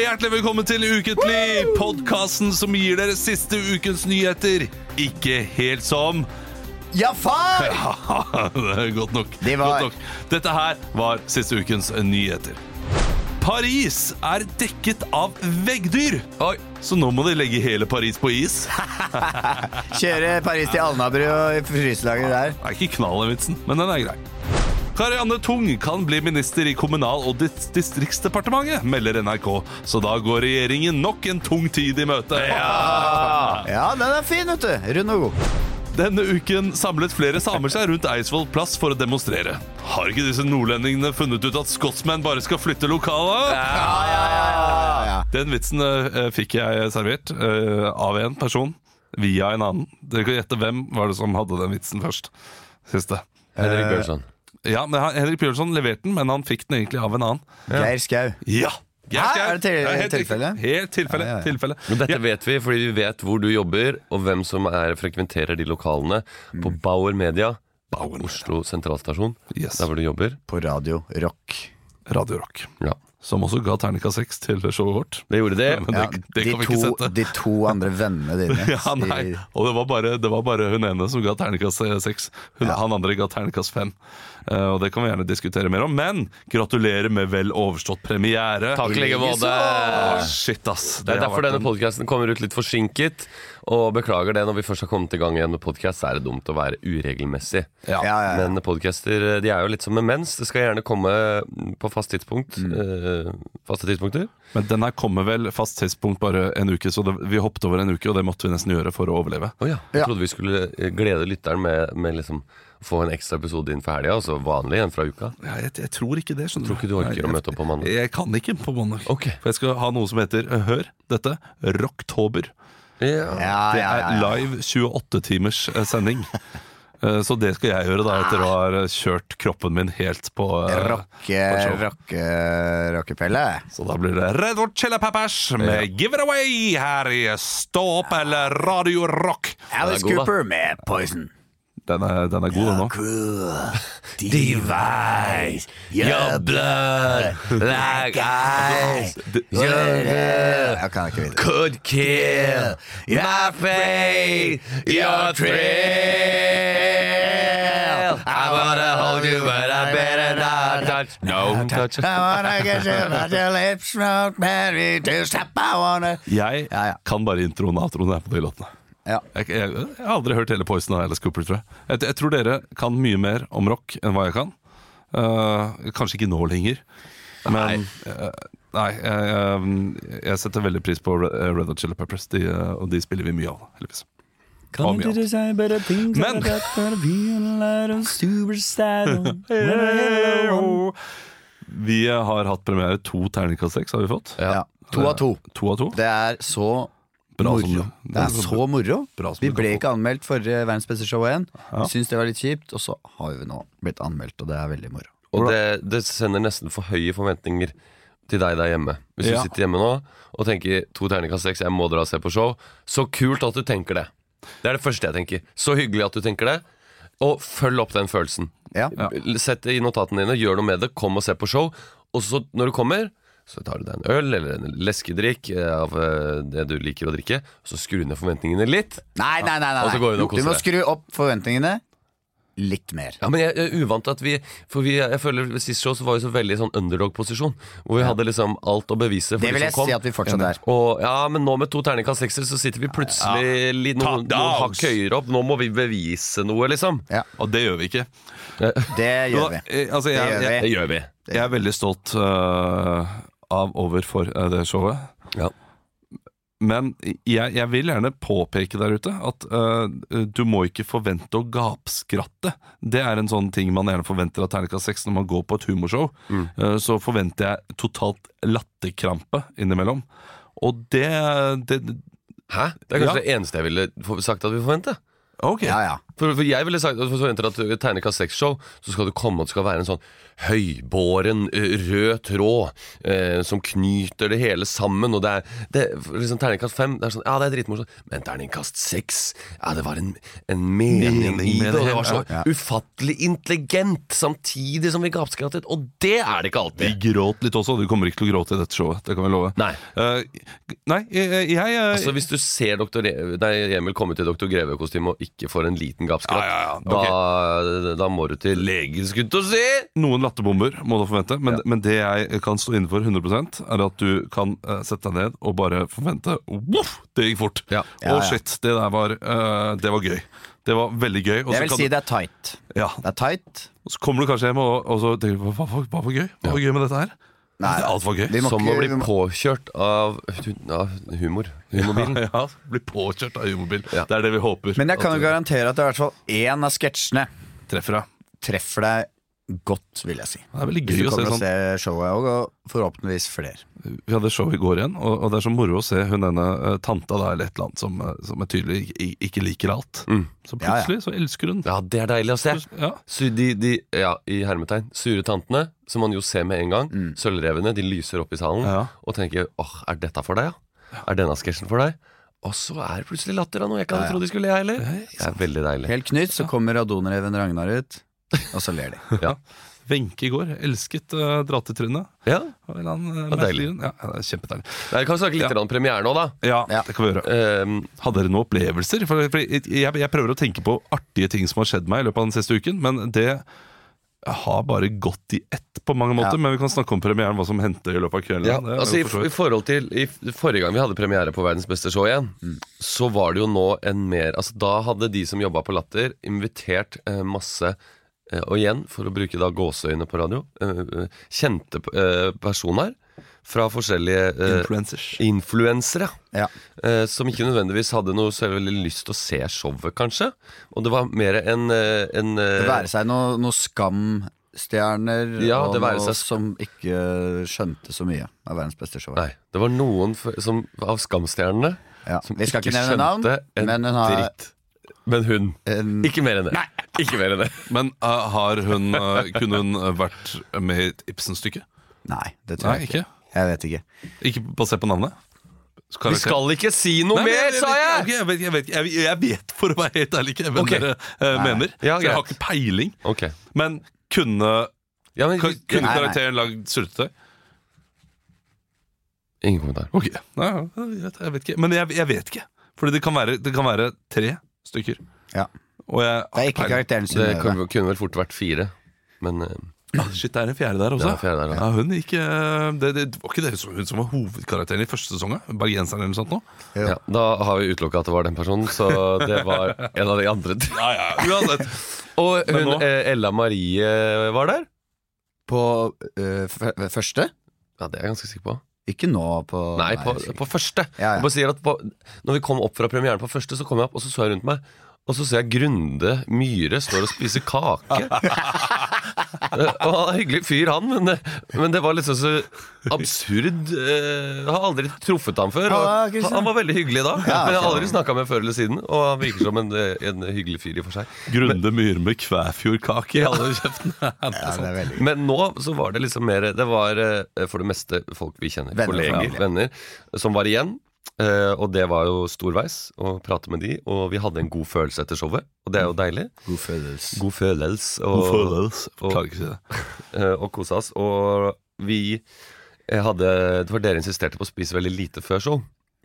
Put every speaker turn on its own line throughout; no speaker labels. Hjertelig velkommen til Ukentlig, podkasten som gir dere siste ukens nyheter. Ikke helt som
Ja, far!
Det er godt nok.
Det var-
godt nok. Dette her var siste ukens nyheter. Paris er dekket av veggdyr,
Oi.
så nå må de legge hele Paris på is.
Kjøre Paris til Alnabru og fryselageret der.
Det er ikke knall den vitsen, men den er grei. Karianne Tung kan bli minister i Kommunal- og dis- distriktsdepartementet, melder NRK. Så da går regjeringen nok en tung tid i møte. Ja!
Ja, den er fin, vet du. Rund og god.
Denne uken samlet flere samer seg rundt Eidsvoll plass for å demonstrere. Har ikke disse nordlendingene funnet ut at skotsmenn bare skal flytte lokalet?
Ja, ja, ja, ja, ja.
Den vitsen eh, fikk jeg servert eh, av en person via en annen. Dere kan gjette hvem var det som hadde den vitsen først. Siste.
Henrik Bjørnson.
Ja, men han- Henrik Bjørnson leverte den, men han fikk den egentlig av en annen.
Geir Skau.
Ja! Geir
Hæ?
Skau.
Er det til-
Ja, helt
tilfelle?
riktig. Helt tilfelle.
Ja, ja, ja.
tilfelle.
Men dette vet vi fordi vi vet hvor du jobber, og hvem som er, frekventerer de lokalene. På Bauer Media,
Bauer.
Oslo sentralstasjon,
Yes.
der hvor du jobber.
På Radio Rock.
Radio Rock.
Ja.
Som også ga terningkast seks til showet vårt.
Det gjorde det.
Men det,
Ja,
det
de,
kan vi
to,
ikke sette.
de to andre vennene dine.
Ja, nei. Og det var bare, det var bare hun ene som ga terningkast eh, seks. Hun-
Ja.
Han andre ga terningkast fem. Eh, og det kan vi gjerne diskutere mer om. Men gratulerer med vel overstått premiere.
Takk i like måte.
Å, shit, ass.
Det er
har
derfor
vært
denne
en-
podkasten kommer ut litt forsinket. Og beklager det, når vi først har kommet i gang igjen med podkast, er det dumt å være uregelmessig.
Ja,
ja.
ja, ja.
Men podcaster eh, de er jo litt som med mens. Det skal gjerne komme på fast tidspunkt. eh, faste tidspunkter.
Men den her kommer vel fast tidspunkt bare en uke, så det, vi hoppet over en uke, og det måtte vi nesten gjøre for å overleve.
Å ja. Jeg
Ja.
trodde vi skulle eh, glede lytteren med, med liksom å få en ekstra episode inn for helga, og så vanlig en fra uka.
Ja, jeg, jeg tror ikke det, skjønner
Tror ikke du
Nei,
orker
jeg-
å møte opp på mandag.
Jeg kan ikke på mandag.
Ok.
For jeg skal ha noe som heter, eh, hør dette, Rocktober.
Ja.
Ja, ja,
Det
ja,
er
ja.
live 28-timers eh, sending. Eh, Så det skal jeg gjøre da etter å ha eh,
Ah.
kjørt kroppen min helt på eh,
Rocke,
show.
rocke, eh, rockepelle.
Så da blir det Red Hot Chili Peppers med Give It Away her i Stå opp eller Radio Rock.
Alice
god, da.
Cooper med Poison.
Den er, den er god, den òg.
Cool. Device. Your
blood like eyes
Jeg kan ikke videre.
could kill my faith, your trail. I wanna hold you, but I better not touch. No touch.
I wanna get you, but your lips won't marry to stop. I wanna
Jeg
Ja, ja.
kan bare introen og outroen her på de låtene.
Ja.
Jeg, jeg, jeg har aldri hørt hele Poison av Alice Cooper, tror jeg. jeg. Jeg tror dere kan mye mer om rock enn hva jeg kan. Eh, kanskje ikke nå lenger, men eh, Nei, jeg, jeg, jeg setter veldig pris på Red Red Hot Chili Peppers, de, eh, og de spiller vi mye av, heldigvis. Og mye annet. Men Vi har hatt premiere. To terningkast seks har vi fått.
Ja. To av to.
To av to.
Det er så
Bra som
moro.
du-
Det er så moro.
Bra som
Vi
du kan
ble
få.
ikke anmeldt forrige Verdens beste show igjen. Vi
Ja.
Syns det var litt kjipt, og så har vi nå blitt anmeldt, og det er veldig moro.
Og det, det sender nesten for høye forventninger til deg der hjemme. Hvis
Ja.
du sitter hjemme nå og tenker to terningkast seks, jeg må dra og se på show. Så kult at du tenker det. Det er det første jeg tenker. Så hyggelig at du tenker det. Og følg opp den følelsen.
Ja.
Sett det i notatene dine, gjør noe med det, kom og se på show. Og så når du kommer, så tar du deg en øl eller en leskedrikk eh, av eh, det du liker å drikke. Så skru ned forventningene litt.
Nei, nei, nei. nei,
Og så går vi
nei.
nå og
Du må
koser
skru opp forventningene litt mer.
Ja, men jeg, jeg er uvant at vi For vi, jeg føler ved sist show så var vi så veldig i sånn underdog-posisjon. Hvor vi hadde liksom alt å bevise for
Det vil
de
jeg
som liksom kom.
si at vi fortsatt er.
Og ja, men nå med to terningkast sekser så sitter vi plutselig litt noen,
Ta
noen
downs.
hakk høyere opp. Nå må vi bevise noe, liksom.
Ja,
Og det gjør vi ikke.
det gjør vi.
Eh, Altså, jeg,
gjør vi.
jeg,
Det gjør vi.
jeg er veldig stolt øh, av over for øh, det showet.
Ja.
Men jeg, jeg vil gjerne påpeke der ute at øh, du må ikke forvente å gapskratte. Det er en sånn ting man gjerne forventer av terningkast 6 når man går på et humorshow.
Mm.
Eh, så forventer jeg totalt latterkrampe innimellom. Og det, det
Hæ? Det er kanskje det eneste jeg ville få- sagt at vi forventa.
Ok.
Ja, ja.
For, for jeg ville sagt for forventer at i et tegnekast 6-show så skal du komme og det skal være en sånn høybåren ø, rød tråd eh, som knyter det hele sammen. Og det er, det, for liksom Terningkast 5 det er sånn, ja det er dritmorsomt, men terningkast 6 ja, det var en, en mening,
Mening
i det.
med det
Og det
hele,
var så
ja.
ufattelig intelligent samtidig som vi gapskrattet. Og det er det ikke
Vi
alltid.
gråt litt også. Du kommer ikke til å gråte i dette showet. Det kan vi love.
Nei.
Eh, nei, jeg, jeg eh,
Altså Hvis du ser Dr. Re- nei, Emil komme til Dr. Greve-kostyme og ikke får en liten gapskratt,
Ja, ja, ja.
da, da må du til legen, skulle jeg til å si!
Noen latterbomber må du forvente, men, men det jeg kan stå innenfor 100 er at du kan eh, sette deg ned og bare forvente Voff, det gikk fort!
Ja.
Å,
Ja, ja.
shit, det der var, eh, det var gøy. Det var veldig gøy. Og så
Jeg vil
kan
si
du,
det er tight.
ja,
Det er tight.
og så kommer du kanskje hjem og, og så tenker du hva, hva, hva var gøy Hva var gøy med dette her?
Nei.
Alt var gøy.
Vi må
Som å
ikke-
bli
vi må-
påkjørt av, av humor. Humorbilen.
Ja, Bli påkjørt av humorbil.
Ja.
Det er det vi håper.
Men jeg kan jo
at
garantere at i hvert fall én av sketsjene
du treffer deg.
treffer deg godt, vil jeg si.
Det er veldig
Hvis
gøy
du
å se
kommer og
sånn.
ser showet òg, og forhåpentligvis flere.
Vi hadde show i går igjen, og, og det er så moro å se hun ene eh, tanta da, eller et eller annet som, eh, som er tydelig ikke, ikke liker alt. Så
Ja, ja.
plutselig så elsker hun.
Ja, det er deilig å se.
Ja.
Su- de, de, ja, I hermetegn. Sure tantene, som man jo ser med en gang. Sølvrevene de lyser opp i salen
Ja.
og tenker åh, er dette for deg, ja? Er denne sketsjen for deg? Og så er det plutselig latter av noe jeg ikke hadde trodd de skulle le, heller. Det er veldig deilig.
Helt knytt, så kommer Radonreven Ragnar ut, og så ler de.
Wenche i går elsket uh, dratetrynet.
Ja.
Av en eller annen, eh,
Ja, deilig.
merkelig grunn. Ja, ja, det er kjempedeilig.
Nei, vi kan snakke litt
Ja.
om premiere nå, da.
Ja,
Ja.
det kan vi gjøre.
Ehm,
Hadde dere noen opplevelser? For, for jeg, jeg prøver å tenke på artige ting som har skjedd meg i løpet av den siste uken, men det har bare gått i ett på mange måter.
Ja.
Men vi kan snakke om premieren, hva som hendte i løpet av kvelden.
Ja,
Det er jo
altså i,
for så
i
vidt-
forhold til i, f- Forrige gang vi hadde premiere på Verdens beste show igjen, så var det jo nå en mer Altså Da hadde de som jobba på Latter, invitert eh, masse eh, Og igjen, for å bruke da gåseøyne på radio, eh, eh, kjente eh, personer fra forskjellige eh,
Influencers.
influensere.
Ja.
Eh, som ikke nødvendigvis hadde noe så veldig lyst til å se showet, kanskje. Og det var mer en, eh, en
Det
eh,
være seg noe, noe skamstjerner
Ja,
og
det være
noe
seg sk-
som ikke skjønte så mye av verdens beste show.
Nei, det var noen f som, av skamstjernene
Ja.
som
Vi skal ikke nevne navn,
skjønte en
men hun har
dritt. Men hun.
en
Ikke mer enn det. Ikke mer enn det.
Men eh, har hun, eh, kunne hun vært med i et Ibsen-stykke?
Nei, det tror
Nei,
jeg
ikke.
ikke. Jeg vet ikke.
Ikke basert på navnet?
Vi skal ikke si noe
Nei, men
mer,
jeg-
sa
jeg
jeg!
vet ikke, Jeg vet, jeg, vet, ikke. jeg, jeg vet for å være helt ærlig ikke hvem
Ok.
dere eh, mener.
Ja,
så jeg har
greit.
ikke peiling.
Ok
Men kunne,
ja, men,
kunne
nei.
karakteren lagd sultetøy?
Ingen kommentar.
Ok, Nei, jeg, jeg vet ikke. Men jeg, jeg vet ikke. Fordi det kan være, det kan være tre stykker.
Ja.
Og jeg
Det er ikke karakteren
Det
Synnøve.
kunne, kunne vel fort vært fire, men eh,
Ah, Shit, det er en fjerde der
det
også.
var fjerde der.
Ja, hun gikk eh, det, det var ikke det som, hun som var hovedkarakteren i første sesong? ja? Bergenseren eller noe sånt? Nå.
Da. Ja, da har vi utelukka at det var den personen, så det var en av de andre.
Ja, ja, uansett.
Og
Men
hun,
nå-
eh, Ella Marie var der?
På øh, f- første?
Ja, det er jeg ganske sikker på.
Ikke nå på
Nei, på,
jeg husker ikke.
på første.
Ja, ja.
Jeg bare sier at på, når vi kom opp fra premieren på første, så kom jeg opp, og så så jeg rundt meg. Og så ser jeg Grunde Myhre står og spiser kake. Eh, og han er en hyggelig fyr, han, men, men det var liksom så absurd. eh, Jeg har aldri truffet ham før.
Halla,
Og
Christian.
han var veldig hyggelig da,
Ja,
men jeg har
ok.
aldri snakka med ham før eller siden. Og han virker som en, eh, en hyggelig fyr i og for seg.
Grunde Myhre med kvæfjordkake i alle kjeftene.
ja, det er veldig gøy.
Men nå så var det liksom mer Det var eh, for det meste folk vi kjenner,
Venner,
kolleger,
familie.
venner, som var igjen. Eh, og det var jo storveis å prate med de, og vi hadde en god følelse etter showet. Og det er jo deilig.
God følelse.
God følelse.
Og,
Og,
Klarer ikke å si det.
eh, og kosa oss. Og vi eh, hadde Det var dere insisterte på å spise veldig lite før show.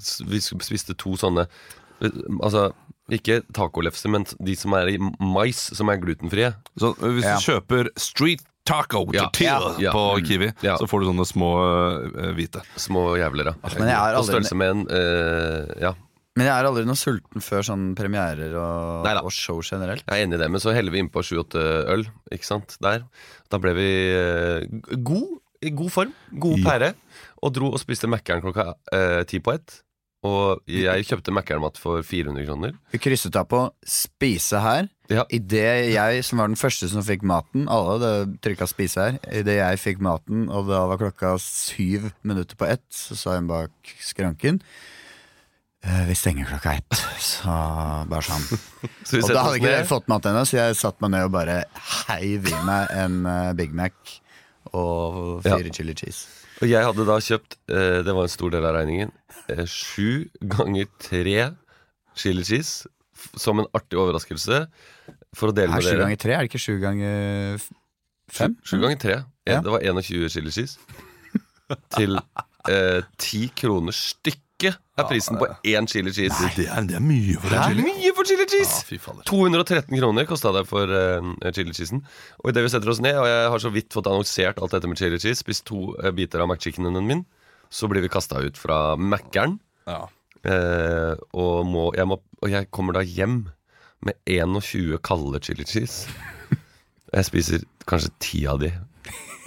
S- Vi spiste to sånne eh, Altså ikke tacolefser, men de som er i mais, som er glutenfrie.
Så eh, hvis
Ja.
du kjøper street taco
Ja.
tortilla
Ja.
på
Mm.
Kiwi,
Ja.
så får du sånne små eh, hvite.
Små jævler, ja.
Men jeg har
På
aldri-
størrelse med en eh, Ja.
Men jeg er aldri noe sulten før sånn premierer og,
Neida.
og show generelt.
Jeg er enig i det, men så heller vi innpå sju-åtte øl, ikke sant, der. Da ble vi eh, g- god, i god form, god
Ja.
pære, og dro og spiste Mækkern klokka eh, ti på ett. Og jeg kjøpte Mækkern-mat for 400 kroner.
Vi krysset av på 'spise her'.
Ja.
Idet jeg, som var den første som fikk maten Alle hadde trykka 'spise her'. Idet jeg fikk maten, og da var klokka syv minutter på ett, så sa hun bak skranken «Eh, Vi stenger klokka ett. Så bare sånn.
Så vi
Og
setter
da
oss
hadde ikke
ned.
dere fått mat ennå, så jeg satte meg ned og bare heiv i meg en eh, Big Mac og fire
Ja.
chili cheese.
Og jeg hadde da kjøpt, eh, det var en stor del av regningen, eh, sju ganger tre chili cheese f- som en artig overraskelse for å dele
Er
med
sju
dere.
ganger tre? Er det ikke sju ganger f- fem?
Sju ganger tre. Eh,
Ja.
Det var 21 chili cheese. Til eh, ti kroner stykket er prisen på én chili cheese.
Det er, det er mye for en
Det er
chili.
mye for chili
Ja,
cheese!
fy fader.
213 kroner kosta det for eh, chili cheesen. Og idet vi setter oss ned, og jeg har så vidt fått annonsert alt dette med chili cheese, spist to eh, biter av McChickenen min, så blir vi kasta ut fra Mækkern.
Ja.
Eh, og, må, jeg må, og jeg kommer da hjem med 21 kalde chili cheese. Jeg spiser kanskje ti av de.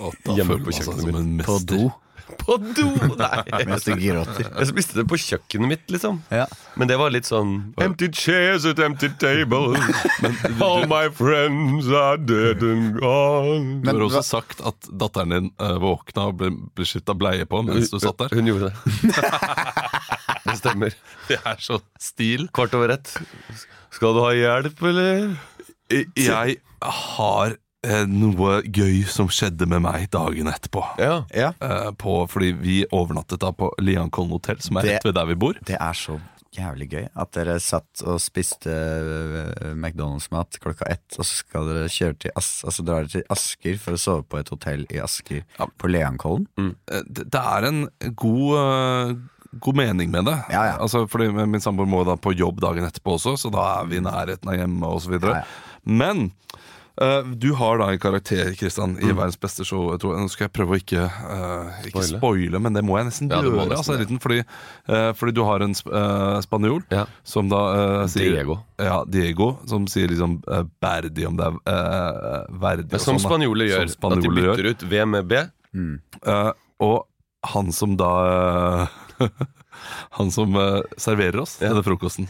Og da
Hjemme
føler
på
man seg
kjøkkenet
som en
På
mester.
do?
På do! Nei.
Mens du gråter.
Jeg spiste det på kjøkkenet mitt, liksom.
Ja.
Men det var litt sånn Empty chairs at empty tables. All my friends are dead and gone.
Du
Men
har
hva-
også sagt at datteren din eh, våkna og ble, ble skifta bleie på mens du satt der.
Hun gjorde det. Det stemmer.
Det er så stil.
Kvart over ett. Skal du ha hjelp, eller?
Jeg har eh, noe gøy som skjedde med meg dagen etterpå.
Ja.
Ja.
Eh, På, fordi vi overnattet da på Liankollen hotell, som er
Det-
rett ved der vi bor.
Det er så jævlig gøy at dere satt og spiste øh, McDonald's-mat klokka ett, og så skal dere kjøre til As altså drar dere til Asker for å sove på et hotell i Asker på Leankollen.
Eh, det det er en god, eh, god mening med det.
Ja, ja.
Altså, fordi min samboer må da på jobb dagen etterpå også, så da er vi i nærheten av hjemme osv.
Ja,
videre
ja.
Men eh, du har da en karakter Kristian, i Verdens beste show. Jeg tror. Nå skal jeg prøve å ikke, eh, ikke
Spoile.
spoile, men det må jeg nesten
Ja, du må
gjøre.
nesten
altså, en
det.
liten, fordi, eh, fordi du har en sp eh, spanjol
Ja.
som da eh, sier
Diego.
Ja, Diego, som sier liksom eh, Berdi om det er eh, verdig.
Men som
og sånn, da.
spanjoler gjør.
Som spanjoler
at de
gjør.
bytter ut V med B.
Eh, og han som da eh, Han som eh, serverer oss denne frokosten,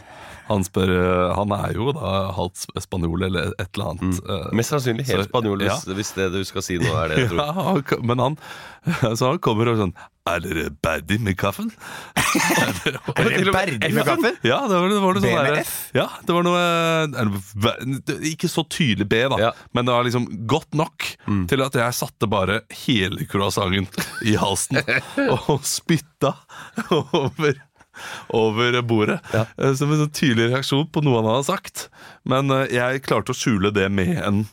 han spør eh, Han er jo da halvt sp- spanjol eller et eller annet. eh,
Mest sannsynlig
Så-
helt spanjol, hvis,
ja.
hvis det du skal si nå, er det jeg tror.
ja, han ko- men han Så han kommer og sånn Er dere ferdig med kaffen?
Er dere ferdig med kaffen?
Ja, det var, det var noe
B
sånn
med
der-
F?
Ja, det var noe eh, eller, v- det- Ikke så tydelig B, da,
Ja.
men det var liksom godt nok
Mm.
til at jeg satte bare hele croissanten i halsen og spytta over over bordet. eh, Som en sånn tydelig reaksjon på noe han hadde sagt. Men eh, jeg klarte å skjule det med en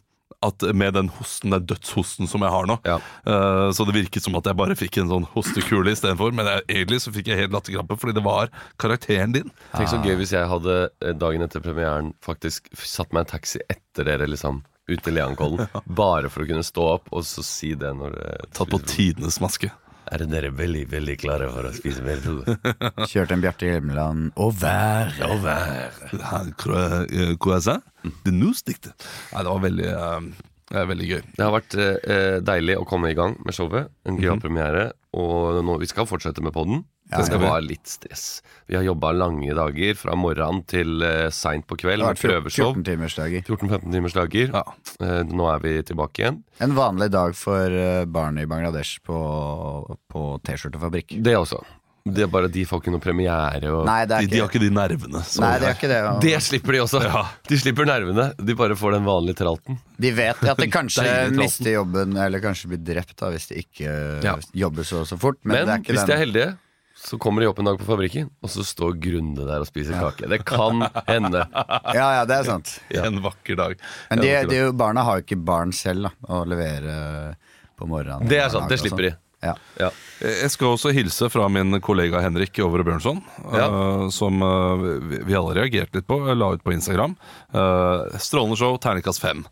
at med den hosten, den dødshosten som jeg har nå.
Ja.
Eh, så det virket som at jeg bare fikk en sånn hostekule istedenfor. Men jeg, egentlig så fikk jeg helt latterkrampe fordi det var karakteren din.
Tenk så gøy hvis jeg hadde eh, dagen etter premieren faktisk f- satt meg en taxi etter dere, liksom. Ut til Leankollen. Bare for å kunne stå opp og så si det når eh,
Tatt på tidenes maske.
Er dere veldig, veldig klare for å spise mer blod?
Kjørte en Bjarte Hjelmeland og vær og vær.
Her, cro- eh, Croissant?
Mm.
Det nusdiktet. Nei, det var veldig, eh, eh, veldig gøy.
Det har vært eh, eh, deilig å komme i gang med showet. En gøyal premiere. Og nå, vi skal fortsette med podden.
Mhm. Ja,
det skal
ja.
være litt stress. Vi har jobba lange dager, fra morgenen til eh, seint på
Det
kveld,
har
med
vært fjor-
prøveshow.
14 timersdager.
14-15 timers dager.
Ja.
Eh, nå er vi tilbake igjen.
En vanlig dag for øh, barn i Bangladesh på, på T-skjortefabrikk.
Det også. Det er bare De får ikke noe premiere. Og
Nei,
De,
det er
de
ikke
har ikke de nervene. som
Nei,
vi
det
har.
er ikke det. og-
Det slipper de også.
Ja.
De slipper nervene. De bare får den vanlige tralten.
De vet at de kanskje
Deilig tralten.
mister jobben, eller kanskje blir drept da, hvis de ikke eh,
Ja.
jobber så, så fort. Men,
Men,
det er ikke
hvis
den.
de er heldige, så kommer de opp en dag på fabrikken, og så står Grunde der og spiser kake. Det kan hende.
Ja, ja, det er sant.
En vakker dag.
Men
En
de,
vakker
de,
dag.
barna har jo ikke barn selv da, å levere eh, på morgenen. sånn.
Det er sant. Det slipper de.
Ja.
Ja.
Jeg skal også hilse fra min kollega Henrik Over Bjørnson,
Ja.
eh, som eh, vi- vi alle reagerte litt på. La ut på Instagram. Eh, strålende show, terningkast fem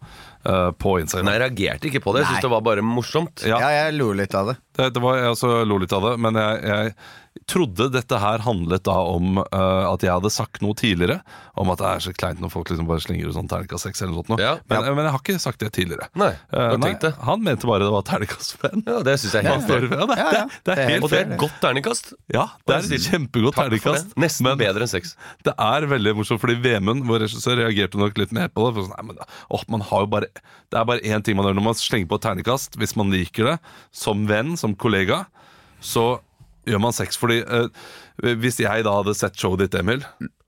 eh, på Instagram.
Nei, jeg reagerte ikke på det. Jeg syntes
Nei.
det var bare morsomt.
Ja.
Ja. jeg lo litt av det.
Det, det var, altså, jeg også lo litt av det, men jeg, jeg trodde dette her handlet da om eh, at jeg hadde sagt noe tidligere. Om at det er så kleint når folk liksom bare slinger ut sånn terningkast seks eller noe sånt. nå.
Ja.
Men, men jeg har ikke sagt det tidligere.
Nei, du har
Eh, nei,
tenkt det.
Han mente bare det var terningkast fem.
Ja, det syns jeg er
Han
helt
står-
fair.
Ja, det,
Ja,
det,
ja.
det er helt
Og det
fair.
er et godt terningkast.
Ja, det er
Og
et
jeg sier
kjempegodt
Takk for det.
terningkast.
Nesten
men-
bedre enn sex.
det er veldig morsomt, fordi Vemund, vår regissør, reagerte nok litt mer på det. For sånn, nei, men, åh, man har jo bare, det er bare én ting man gjør når man slenger på et ternekast. Hvis man liker det, som venn, som kollega, så gjør man sex? Fordi eh, Hvis jeg da hadde sett showet ditt, Emil,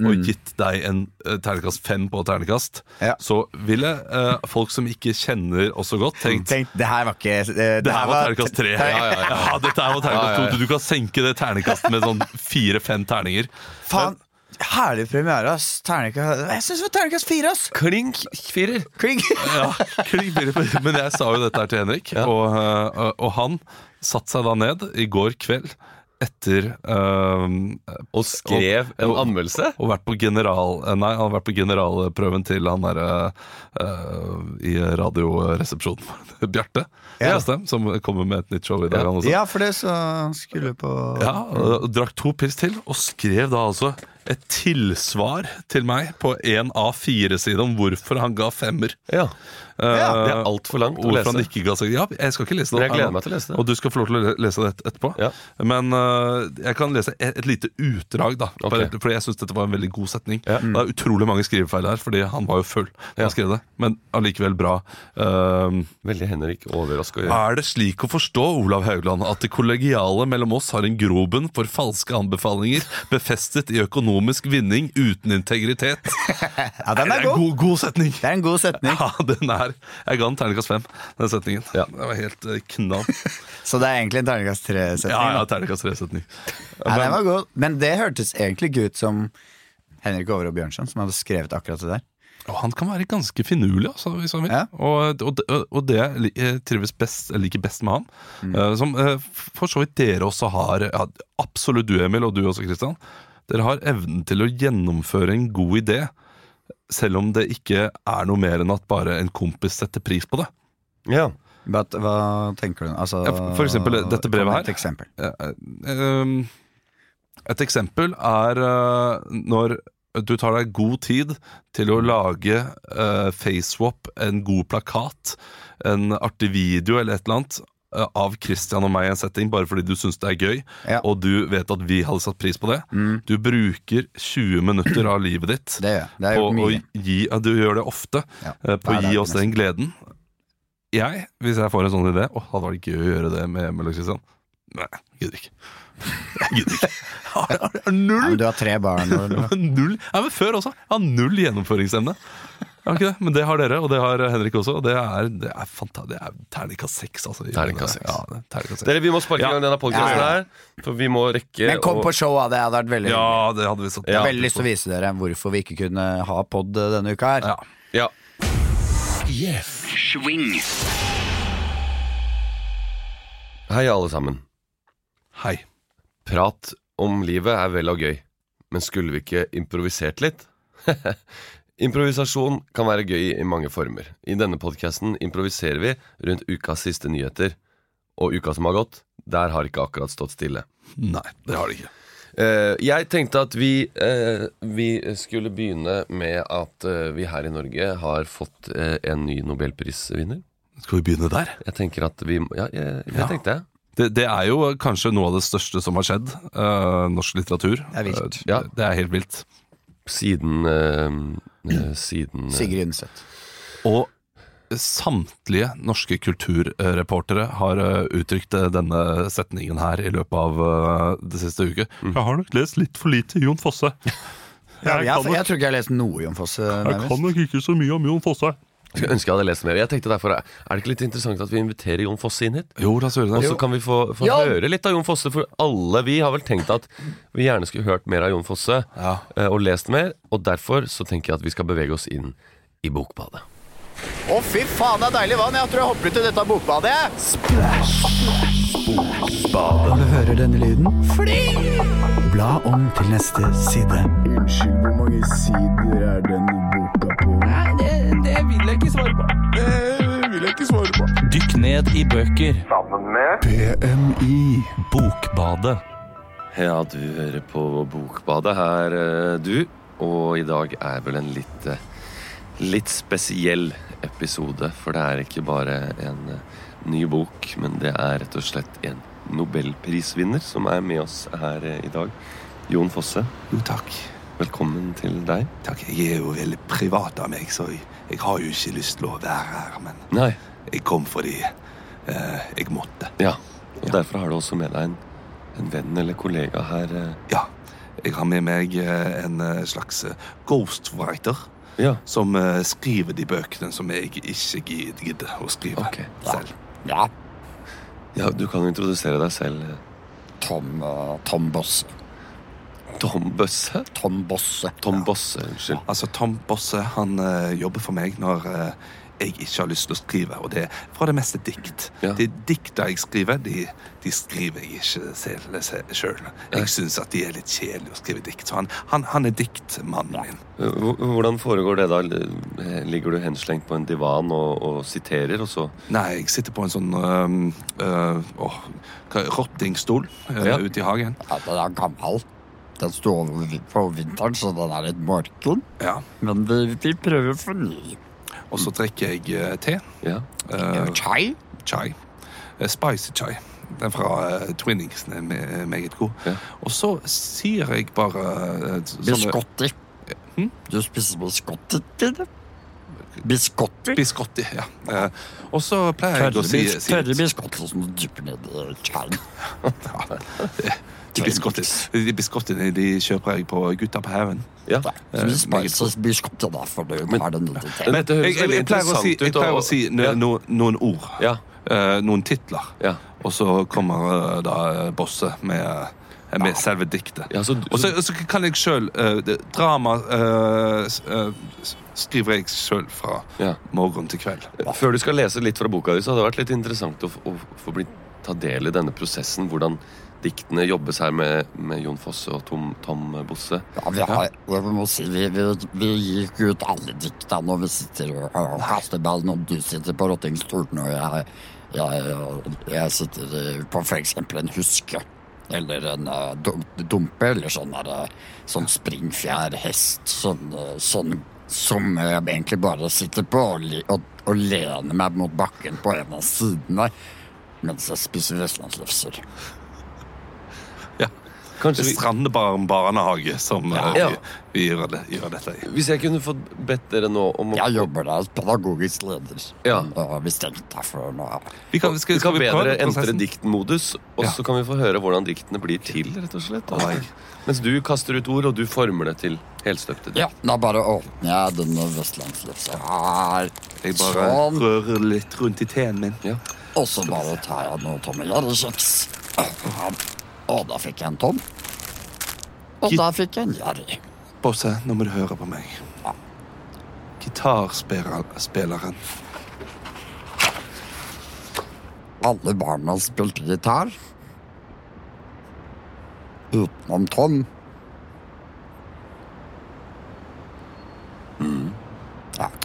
og gitt deg en eh, terningkast fem på terningkast,
Ja.
så ville eh, folk som ikke kjenner oss så godt, tenkt
Tenk, det her var ikke eh, Det,
det her var terningkast tre. Ja, ja, ja. dette her var terningkast
Ja, ja, ja.
to. Du, du kan senke det terningkastet med sånn fire-fem terninger.
Faen, herlig premiere, ass. Terningkast Jeg syns det var terningkast fire, ass.
Klink firer.
Kling.
Ja, klink billig på- Men jeg sa jo dette her til Henrik, og, eh, og han satte seg da ned i går kveld etter eh,
Og skrev en anmeldelse.
Og vært på general eh, Nei, han har vært på generalprøven til han derre eh, I radioresepsjonen. Bjarte
Ja.
Tjøstheim, som kommer med et nytt show i dag, han også.
Ja, for det så skulle på
Ja, og- og Drakk to pils til, og skrev da altså et tilsvar til meg på en A4-side om hvorfor han ga femmer.
Ja,
Eh,
Det er altfor langt å
Hvorfor han
lese.
ikke ga seg Ja, jeg skal ikke lese det.
Men jeg gleder meg til å lese det.
Og du skal få lov til å le- lese det et- etterpå.
Ja.
Men øh, jeg kan lese et, et lite utdrag, da.
Ok.
Bare- For jeg syns dette var en veldig god setning.
Ja.
Det er utrolig mange skrivefeil her, fordi han var jo full da
Ja.
han skrev det. Men allikevel bra. Ehm,
Veldig Henrik Overrask å gjøre.
er det slik å forstå, Olav Haugland, at det kollegiale mellom oss har en grobunn for falske anbefalinger befestet i økonomisk vinning uten integritet?
Ja, den
Det er
er
en
god.
god, god setning!
Det er en god setning.
Ja, den er Jeg ga den terningkast fem, den setningen.
Ja.
Det var helt eh, knall.
Så det er egentlig en terningkast tre-setning.
Ja, ja, terningkast tre-setning.
Nei, den var god. Men det hørtes egentlig ikke ut som Henrik Over og Bjørnson, som hadde skrevet akkurat det der.
Og han kan være ganske finurlig, altså, hvis han vil.
Ja.
Og, og, det- og det jeg li- jeg trives best, jeg liker best med han, eh, som eh, for så vidt dere også har, ja, absolutt du Emil, og du også Kristian, dere har evnen til å gjennomføre en god idé, selv om det ikke er noe mer enn at bare en kompis setter pris på det.
Ja.
But, hva tenker du? Altså,
Ja, for- for eksempel dette brevet
kom med
her.
Et eksempel.
Eh, ehm, Et eksempel er eh, når du tar deg god tid til å lage eh, facewap, en god plakat, en artig video eller et eller annet eh, av Christian og meg i en setting, bare fordi du syns det er gøy,
Ja.
og du vet at vi hadde satt pris på det. Du bruker 20 minutter av livet ditt
Det gjør jeg. Det har jeg
på
gjort
å
mye.
gi ja, Du gjør det ofte.
Ja.
eh, På
Nei,
å
det
gi
er ikke
oss den gleden. Jeg, hvis jeg får en sånn idé Å, hadde vært gøy å gjøre det med Emil og Kristian. Nei, jeg gidder ikke. Jeg gidder ikke. Jeg har- jeg har
Ja, men
null!
du har tre barn. Og,
Null Nei, men før også. Jeg har null gjennomføringsevne. Jeg har ikke det, Men det har dere, og det har Henrik også. Og det er, det er, fanta- det er terningkast seks, altså.
Terningkast seks.
Ja, det er terningkast seks.
Dere, vi må sparke i
Ja.
gang denne podcasten
Ja,
her, for vi må rekke
men kom
å-
på showet, det hadde vært veldig
Ja, det hadde vi satt
Jeg har
pris
veldig lyst til å
på.
vise dere hvorfor vi ikke kunne ha pod denne uka her.
Ja.
Ja.
Swing.
Hei, alle sammen.
Hei.
Prat om livet er vel og gøy, men skulle vi ikke improvisert litt? Improvisasjon kan være gøy i mange former. I denne podkasten improviserer vi rundt ukas siste nyheter. Og uka som har gått, der har ikke akkurat stått stille.
Nei, det har det ikke.
Eh, jeg tenkte at vi, eh, vi skulle begynne med at eh, vi her i Norge har fått eh, en ny nobelprisvinner.
Skal vi begynne der?
Jeg tenker at vi må- Ja, jeg, det
Ja.
tenkte jeg.
Det, det er jo kanskje noe av det største som har skjedd eh, norsk litteratur.
Det er vilt.
Eh, det er helt vilt.
Siden eh, eh, Siden eh,
Sigrid Undset.
Og samtlige norske kulturreportere har eh, uttrykt eh, denne setningen her i løpet av eh, det siste uke. Jeg har nok lest litt for lite Jon Fosse.
Jeg, jeg, tror ikke jeg har lest noe Jon eh, Fosse. nærmest.
nok ikke så mye om Jon Fosse.
Skulle ønske jeg hadde lest mer. Jeg tenkte derfor, Er det ikke litt interessant at vi inviterer Jon Fosse inn hit?
Jo, la oss gjøre
Og
det.
så kan vi få, få
Jon!
høre litt av Jon Fosse, for alle vi har vel tenkt at vi gjerne skulle hørt mer av Jon Fosse
Ja.
eh, og lest mer. Og derfor så tenker jeg at vi skal bevege oss inn i Bokbadet.
Å, fy faen, det er deilig vann! Jeg tror jeg hopper ut i dette bokbadet. Når du hører denne lyden, bla om til neste side.
Unnskyld, hvor mange sider er denne boka på? Nei, det, vil jeg ikke svare på. Det
Dykk ned i bøker.
vil jeg ikke svare på. BMI.
Bokbadet.
Ja, du hører på Bokbadet her, eh, du. Og i dag er vel en litt, eh, litt spesiell episode. For det er ikke bare en eh, ny bok, men det er rett og slett en nobelprisvinner som er med oss her eh, i dag. Jon Fosse,
Jo, takk.
velkommen til deg.
Takk, Jeg er jo veldig privat av meg, så jeg, jeg har jo ikke lyst til å være her. Men
Nei.
jeg kom fordi eh, jeg måtte.
Ja, og derfor har du også med deg en en venn eller kollega her eh,
Ja, jeg har med meg eh, en eh, slags eh, ghostwriter
Ja,
som eh, skriver de bøkene som jeg ikke gid- gidder å skrive
Ok.
selv.
Ja,
ja du kan jo introdusere deg selv. eh,
Tom, eh, Tom Bosse.
Tom Bøsse?
Tom Bosse.
Tom Bosse, unnskyld.
Altså, Tom Bosse han eh, jobber for meg når eh, jeg ikke har lyst til å skrive, og det er fra det meste dikt.
Ja.
De dikta jeg skriver, de, de skriver jeg ikke selv. se- selv. Jeg syns at de er litt kjedelige å skrive dikt, så han, han, han er diktmannen min.
H- Hvordan foregår det da? L- Ligger du henslengt på en divan og, og siterer, og så
Nei, jeg sitter på en sånn øhm, øh, åh, hva- rottingstol øh,
Ja.
ute i hagen.
Ja, den er gammel. Den sto over på vinteren, så den er litt morken.
Ja.
Men vi, vi prøver å fornye.
Og så drikker jeg øh, te.
Ja.
øh,
Chai?
chai. Eh, spicy chai. Den fra øh, Twinnings. Den er me- meget god.
Ja.
Og så sier jeg bare øh, sånne-
Biscotti.
Hm?
Du spiser biscotti til det? Biscotti?
Biscotti, ja. Eh, og så pleier jeg å
Tørre
si,
bis-
si
tørre biscotti som du dypper ned i chaien.
biscotti. De biscottiene de kjøper jeg på Gutta på haugen.
ja.
Eh,
Så vi spiser biscotti da, for det er det nødvendig til.
Men dette høres
Jeg, jeg,
veldig
jeg pleier å si,
interessant
jeg
ut. og-
pleier å si no,
ja.
no, noen ord.
Ja.
Eh, noen titler.
Ja.
Og så kommer eh, da eh, Bosse med, eh, med selve diktet.
Ja, så-
og så, så kan jeg sjøl Drama eh, s- eh, s- skriver jeg sjøl fra
Ja.
morgen til kveld.
Før du skal lese litt fra boka di, så hadde det vært litt interessant å, f- å få bli ta del i denne prosessen. Hvordan diktene jobbes her med, med Jon Fosse og Tom, Tom Bosse.
Ja, vi har, jeg må si, vi, vi, vi gikk ut alle dikta når vi sitter og, og kaster ballen, om du sitter på rottingstolen og jeg, jeg, jeg sitter i- på for eksempel en huske, eller en eh, dum- dumpe, eller sånn, der, eh, sånn springfjær hest, sånn, eh, sånn som jeg egentlig bare sitter på og, li- og, og lener meg mot bakken på en av sidene, mens jeg spiser vestlandslefser.
Ja.
Kanskje vi,
Strandebarn barnehage som eh,
Ja.
vi, vi gjør, det, gjør dette i.
Hvis jeg kunne fått bedt dere nå om å
Jeg jobber der som pedagogisk leder. eh,
Ja.
Og vi stengte for nå.
Vi kan, skal,
Vi kan
skal vi
be
prøve
dere entre
prosessen?
diktmodus, og
Ja.
så kan vi få høre hvordan diktene blir til. rett og slett altså. Mens du kaster ut ord, og du former det til helstøpte dikt.
Ja, da bare åpner jeg denne vestlandslefsa her.
Jeg bare
sånn.
rører litt rundt i teen min.
Ja.
Og så bare tar jeg noen tomme gjerrikjeks. Og da fikk jeg en tom. Og da fikk jeg en gjerrig.
Bosse, nå må du høre på meg. Gitarspilleren
Alle barna spilte gitar. Utenom Tom.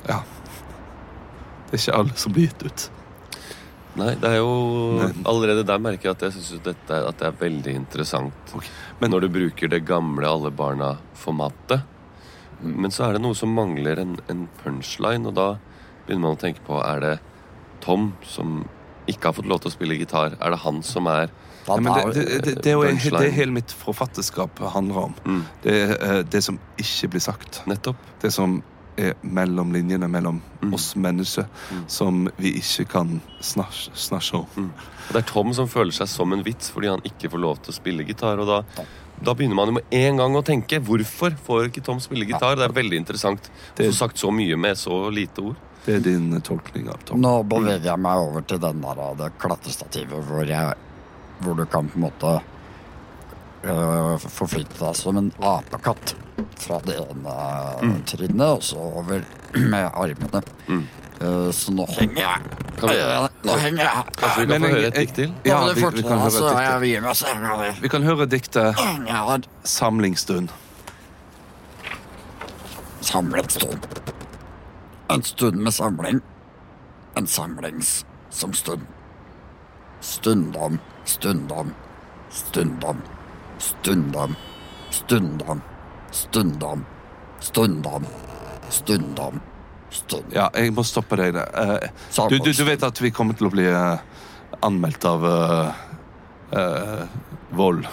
Ja. Det er ikke alle som blir gitt ut.
Nei, det er jo Allerede der merker jeg at jeg syns dette er, at det er veldig interessant.
Men-
når du bruker det gamle alle barna-formatet. Men så er det noe som mangler en, en punchline, og da begynner man å tenke på Er det Tom som ikke har fått lov til å spille gitar? Er det han som er
Da
Ja, men det,
tar-
det, det, det er jo
Punchline.
det hele mitt forfatterskap handler om. Det er eh, det som ikke blir sagt.
mm, Nettopp.
Det som er mellom linjene mellom
Mm.
oss mennesker, som vi ikke kan snas- snakke
Mm.
om.
Og det er Tom som føler seg som en vits fordi han ikke får lov til å spille gitar. Og da, da begynner man jo med en gang å tenke hvorfor får ikke Tom spille gitar? Det er veldig interessant å få sagt så mye med så lite ord.
Det er din eh, tolkning av Tom.
Nå beveger jeg meg over til den der, det klatrestativet hvor, jeg, hvor du kan på en måte øh, forflytte deg som en apekatt fra det ene
Mm.
trinnet og så over med armene. Øh, så nå henger jeg. Øh, nå henger jeg.
Så vi kan
Men
få
jeg-
høre et
jeg-
dikt til.
Ja,
Nå må du
vi, vi
fortsette,
kan
altså,
høre
jeg
diktet.
vil gi meg, så henger jeg.
Vi kan høre diktet
Henger jeg her.
'Samlingsstund'.
samlet stund. En stund med samling. En samlings som stund. Stundom, stundom, stundom, stundom, stundom, stundom, stundom, stundom, stundom.
Ja, jeg må stoppe deg der. Eh, du, du, du vet at vi kommer til å bli eh, anmeldt av eh, eh, Vold.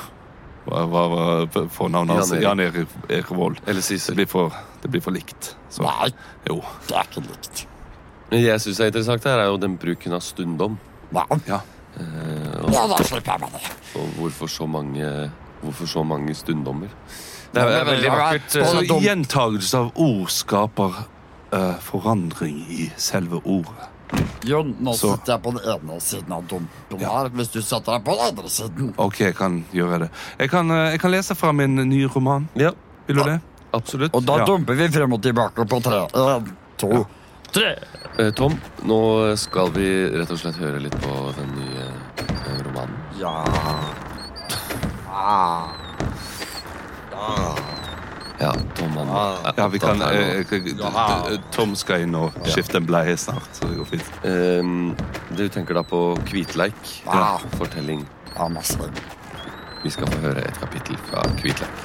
Hva var fornavnet hans?
Jan
Jan Erik Erik Vold.
Eller
Det
Sissel.
blir for, det blir for likt. Så,
Nei,
jo.
det er ikke likt.
Men jeg syns er interessant her, er jo den bruken av stundom.
Nei.
Ja.
Ja, Eh, da slipper jeg meg ned.
Og hvorfor så mange, hvorfor så mange stunddommer?
Det er, det er veldig vakkert. eh,
Både
Så
dum-
gjentagelse av ord skaper eh, forandring i selve ordet.
Jon, nå
Så-
sitter jeg på den ene siden av dumpen her. Hvis du setter deg på den andre siden
Ok, jeg kan gjøre det. Jeg kan, eh, jeg kan lese fra min nye roman.
Ja,
Vil du det?
absolutt.
Og da
Ja.
dumper vi frem og tilbake på tre. En, to, tre.
Eh, Tom, nå skal vi rett og slett høre litt på den nye eh, romanen.
Ja. Ah,
Ja, Tom han er
Ah, Ja, vi kan,
opptatt her nå.
eh, jeg- eh, Tom skal inn og skifte en bleie snart, så det går fint.
Ehm, Du tenker da på Kvitleik.
Ja.
Fortelling.
ja masse.
Vi skal få høre et kapittel fra Kvitleik.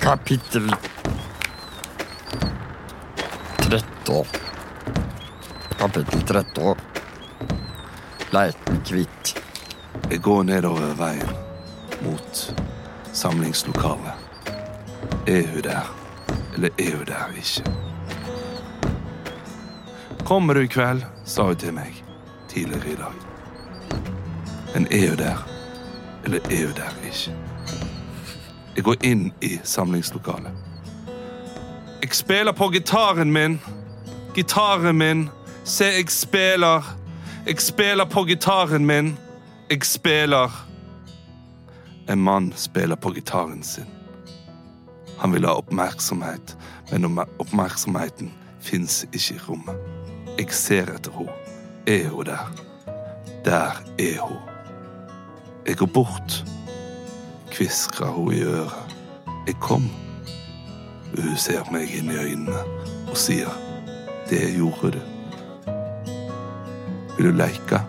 Kapittel 13. Kapittel 13. Leiten kvitt.
Jeg går nedover veien mot samlingslokalet. Er hun der, eller er hun der ikke? Kommer du i kveld, sa hun til meg tidligere i dag. Men er hun der, eller er hun der ikke? Jeg går inn i samlingslokalet. Jeg spiller på gitaren min. Gitaren min. Se, jeg spiller. Jeg spiller på gitaren min. Jeg spiller En mann spiller på gitaren sin. Han vil ha oppmerksomhet, men om- oppmerksomheten fins ikke i rommet. Jeg ser etter henne. Er hun der? Der er hun. Jeg går bort. Kviskrer hun i øret. Jeg kom. Hun ser meg inn i øynene og sier, det gjorde du. Vil du leke?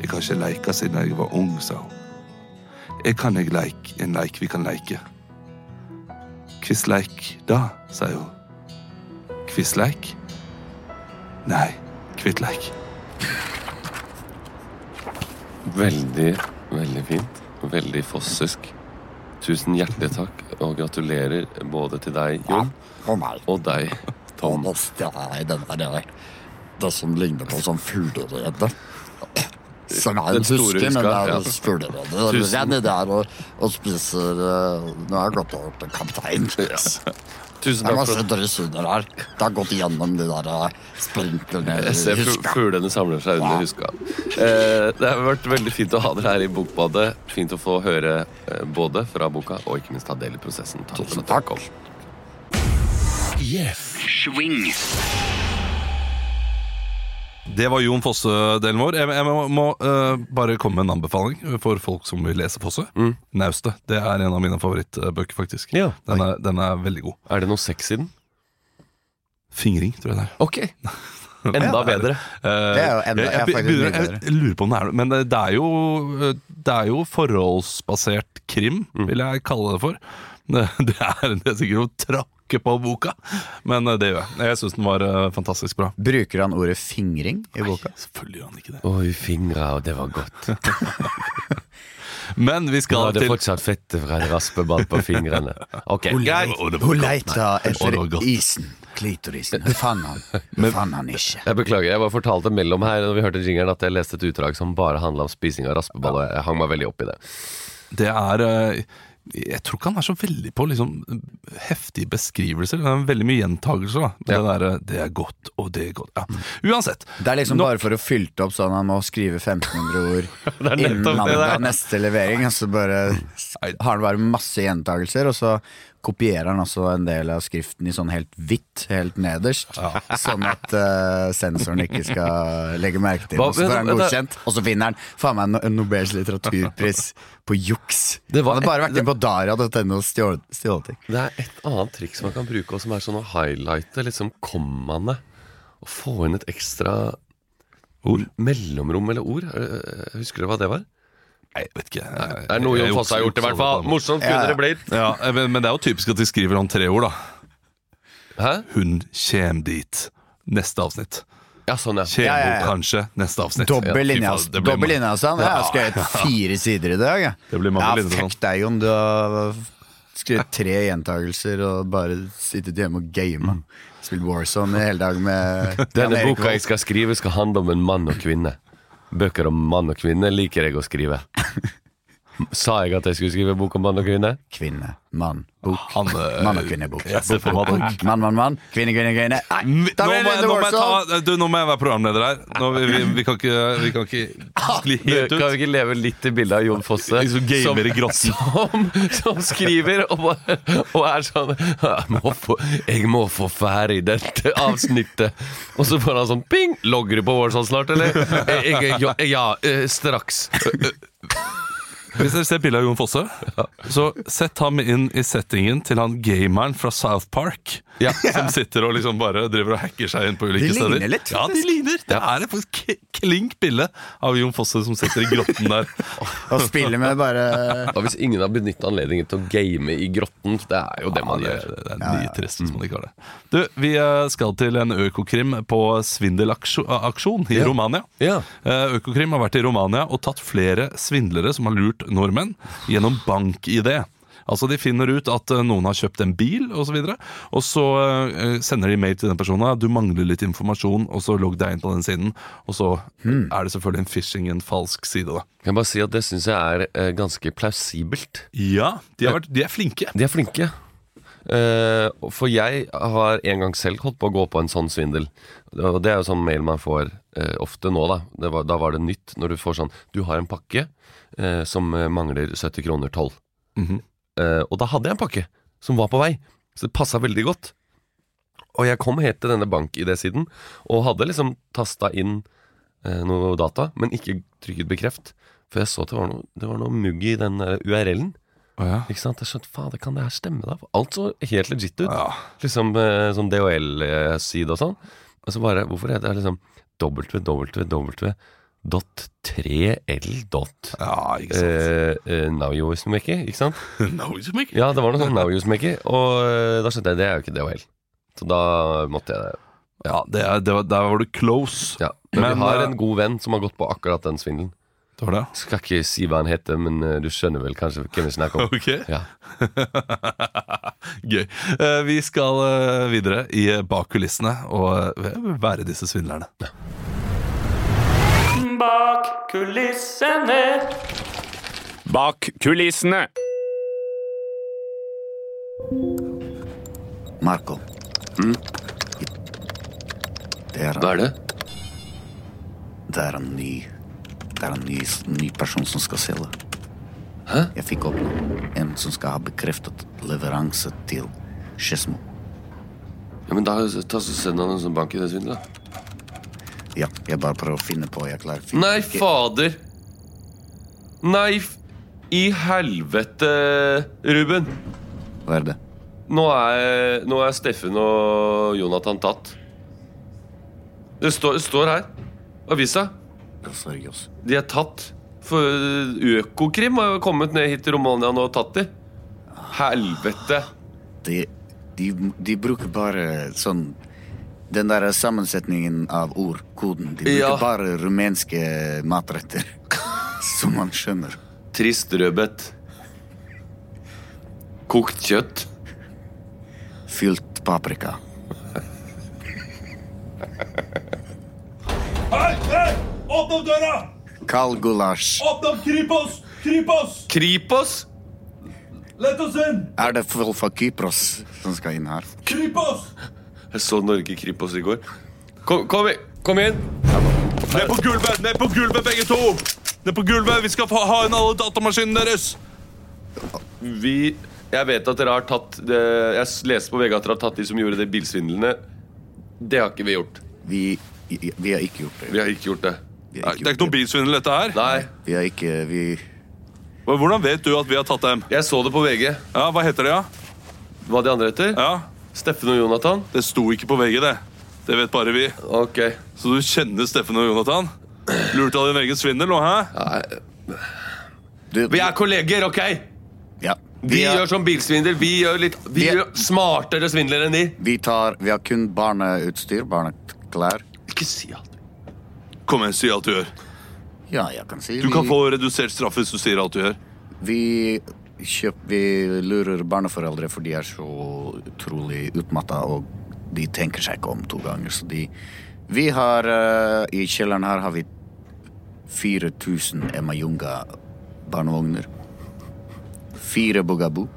Jeg har ikke leka siden jeg var ung, sa hun. Jeg kan jeg leik, en leik vi kan leike. Kviss leik da, sier hun. Kviss leik? Nei, kvitt leik.
Veldig, veldig fint. Veldig fossisk. Tusen hjertelig takk, og gratulerer både til deg,
Ja,
Jon,
for meg.
og deg,
Og
Tom.
nå stjeler jeg den der Det som ligner på sånn fuglerede. Som er
Den
en
store
huske, men det
huska,
er
ja.
en fuglerede. Jeg er nedi der og, og spiser eh, Nå har jeg gått over til kaptein.
Tusen
Det er
takk for
masse dress under her. Det har gått gjennom de der eh, sprinklene. i
Jeg ser fu-
huska.
fuglene samler seg under huska. Eh, det har vært veldig fint å ha dere her i Bokbadet. Fint å få høre eh, både fra boka og ikke minst ta del i prosessen. Takk for
Tusen
at dere
takk.
kom.
Det var Jon Fosse-delen vår. Jeg, jeg må, må eh, bare komme med en anbefaling for folk som vil lese Fosse. Naustet. Det er en av mine favorittbøker, faktisk.
Mm. Ja.
Den, er, den er veldig god.
Er det noe sex i den?
Fingring, tror jeg det er.
Ok. Enda bedre.
Eh,
Det er jo enda-
jeg, jeg,
ja, faktisk
begynner-
mye bedre.
jeg, lurer på om det er noe Men det er jo, eh, det er jo forholdsbasert krim,
Mm.
vil jeg kalle det for. Det, det er det er sikkert å trakke på boka, men eh, det gjør jeg. Jeg syns den var eh, fantastisk bra.
Bruker han ordet fingring i boka?
Selvfølgelig gjør han ikke det.
Oi, fingra, og det var godt.
Men vi skal til
fortsatt fett fra en raspeball på fingrene. Ok,
Greit. Å, det var
Hun
godt.
leita
Å,
etter
det var godt.
isen. Klitorisen. Hun fant han. Hun fant han ikke.
Jeg beklager, jeg bare fortalte mellom her når vi hørte jingeren at jeg leste et utdrag som bare handla om spising av raspeball, og jeg hang meg veldig opp i det.
Det er eh, Jeg tror ikke han er så veldig på liksom, heftige beskrivelser. Det er veldig mye gjentagelser. Da. Det, der, eh, det er godt, og det er godt. Ja. Uansett.
Det er liksom bare for å fylle det opp sånn han må skrive 1500 ord
er nettopp
innen
det
mandag
der.
neste levering. Og så bare s- har han bare masse gjentagelser, og så kopierer han også en del av skriften i sånn helt hvitt, helt nederst. Sånn at eh, sensoren ikke skal legge merke til det.
Hva-
Og Så får han
vent da,
godkjent, og så vinner han faen meg no- en Nobels litteraturpris på juks.
Det var
han har bare
et-
vært inne på Daria.no og stjålet stjålet ting.
Det er et annet triks man kan bruke, og som er sånn å highlighte liksom kommaene. Og få inn et ekstra ord. mellomrom eller ord. Er det- eh, Husker dere hva det var?
Nei, jeg vet ikke. Jeg-
Det er noe
jeg-
Jon
jeg-
Fosse har gjort, i hvert fall. Morsomt kunne det blitt.
Ja, eh, men, men det er jo typisk at de skriver om tre ord, da.
Hæ?
Hun kjem dit. Neste avsnitt.
Ja, sånn, ja.
Kjem
Ja, ja, ja.
hun kanskje. Neste avsnitt. Ja, fy
Dobbel linje,
faen,
altså.
det blir
Dobbel
ma-
linje, altså. Jeg har skrevet fire sider i dag. Jeg.
Det blir mange
ja,
linjer
fuck deg, Jon. Du har skrevet tre gjentagelser og bare sittet hjemme og gama.
Mm.
Spilt Warzone i hele dag med
Denne
Jan Erik
boka
Vold.
jeg skal skrive, skal handle om en mann og kvinne. Bøker om mann og kvinne liker jeg å skrive. Sa jeg at jeg skulle skrive bok om mann og kvinne?
Kvinne, mann, bok.
Han, eh,
Mann og kvinne, bok.
jeg ser for meg at-
Mann, mann, mann. Kvinne, kvinne, kvinne.
Nå
Nei, da
må,
blir det
jeg,
The
nå, må jeg
Warsaw.
ta, du, nå må jeg være programleder her. Nå, vi, vi, vi kan ikke, vi kan ikke skli helt
Du, kan
ut.
vi ikke leve litt i bildet av Jon Fosse
Liksom gamer i grotten.
som, som skriver og, bare, og er sånn jeg må, få, 'Jeg må få ferdig dette avsnittet'. Og så får han sånn ping! Logger du på Warsaw snart, eller? Jeg, jeg, ja, ja, eh, straks.
Hvis dere ser bilde av Jon Fosse, så sett ham inn i settingen til han gameren fra South Park.
Ja.
Som sitter og liksom bare driver og hacker seg inn på ulike
De
steder.
ligner litt,
Ja, de ligner. Det er et faktisk k- klink bilde av Jon Fosse som sitter i grotten der.
Og spille med bare
Og hvis ingen har benyttet anledningen til å game i grotten, det er jo det man
det,
gjør.
det er mye trist hvis man ikke har det. Du, vi eh, skal til en økokrim på svindelaksjon i Romania.
Ja.
Eh, Økokrim har vært i Romania og tatt flere svindlere som har lurt nordmenn gjennom bank-ID. Altså De finner ut at eh, noen har kjøpt en bil osv., og så, videre, og så eh, sender de mail til den personen. Du mangler litt informasjon, og så logg deg inn på den siden. Og så eh, er det selvfølgelig en phishing, en falsk side. da
Kan jeg bare si at det syns jeg er eh, ganske plausibelt.
Ja, de, har vært, de er flinke.
De er flinke. Eh, for jeg har en gang selv holdt på å gå på en sånn svindel. Og det er jo sånn mail man får eh, ofte nå, da. Det var, da var det nytt. Når du får sånn Du har en pakke eh, som eh, mangler 70 kroner toll.
Mhm.
Eh, og da hadde jeg en pakke som var på vei, så det passa veldig godt. Og jeg kom helt til denne bank-ID-siden og hadde liksom tasta inn eh, noe data, men ikke trykket bekreft. For jeg så at det var noe, det var noe mugg i den eh, URL-en. Ikke sant? Jeg skjønte, faen, det kan det her stemme da? Alt så helt legit ut.
Ja.
Liksom eh, sånn DHL-side og sånn. Og så bare, hvorfor heter det liksom www.3l.
Ja, ikke sant.
Eh, eh, now you is maker, ikke sant?
No, it's making-
Ja, det var noe sånn now you is maker, og eh, da skjønte jeg, det er jo ikke DHL. Så da måtte jeg det.
Ja, det er, det var, der var du close.
Ja. Men,
Men,
vi har
eh,
en god venn som har gått på akkurat den svindelen.
Det var det.
Skal ikke si hva han heter, men eh, du skjønner vel kanskje hvem vi snakker om.
Ok,
Ja.
gøy. Eh, Vi skal eh, videre i eh, bak kulissene og eh, være disse svindlerne.
Bak kulissene. Bak kulissene.
Marco. Mm. Det er,
Hva er det?
det er en ny Det er en ny, ny person som skal selge.
Hæ?
Jeg fikk opp nå. En som skal ha bekreftet leveranse til Skedsmo.
Ja, men da ta så send han en sånn bank i det svindel, da.
Ja, jeg bare prøver å finne på. Jeg klarer ikke
Nei, fader! Nei, f- i helvete, Ruben!
Hva er det?
Nå er, nå er Steffen og Jonathan tatt. Det står, det står her. Avisa.
Ja, Sorry, Johs.
De er tatt. For eh, Økokrim har jo kommet ned hit til Romania nå og tatt de. Helvete.
de, de, de bruker bare sånn Den der sammensetningen av ord, koden. De bruker
Ja.
bare rumenske matretter. Som man skjønner.
Trist rødbet. Kokt kjøtt.
Fylt paprika.
Hei, hei! Åpne opp døra!
Kald gulasj.
Åpne opp! Kripos! Kripos!
Kripos!
Let oss inn!
Er det folk fra Kypros som skal inn her?
Kripos!
Jeg så Norge Kripos i går. Kom, kom, i- kom inn!
Ned på gulvet! Ned på gulvet, begge to! Ned på gulvet! Vi skal få ha inn alle datamaskinene deres!
Vi Jeg vet at dere har tatt det, Jeg s- leste på VG at dere har tatt de som gjorde de bilsvindlene. Det har ikke vi gjort.
Vi, vi har ikke gjort det.
Vi har ikke gjort det.
Vi
Nei,
har
det er ikke
ikke
noe
gjort det.
bilsvindel, dette her.
Nei.
Vi har ikke vi,
Men Hvordan vet du at vi har tatt dem?
Jeg så det på VG.
Ja, Hva heter de, ja?
Hva de andre heter?
ja?
Steffen og Jonathan?
Det sto ikke på VG, det. Det vet bare vi.
Ok.
Så du kjenner Steffen og Jonathan? Lurte av din egen svindel nå, hæ?
du,
Vi er kolleger, ok?
ja.
De
vi, er,
gjør som bilsvindel. Vi gjør litt Vi
Vi er-
gjør smartere svindlere enn de.
vi tar Vi har kun barneutstyr, barneklær.
Ikke si alt.
Kom igjen, si alt du gjør.
Ja, jeg kan si
Du kan
vi-
få redusert straff hvis du sier alt du gjør.
Vi, kjøp, vi lurer barneforeldre, for de er så utrolig utmatta, og de tenker seg ikke om to ganger. Så de Vi har eh, I kjelleren her har vi 4000 Emayunga barnevogner. Fire Bugaboo.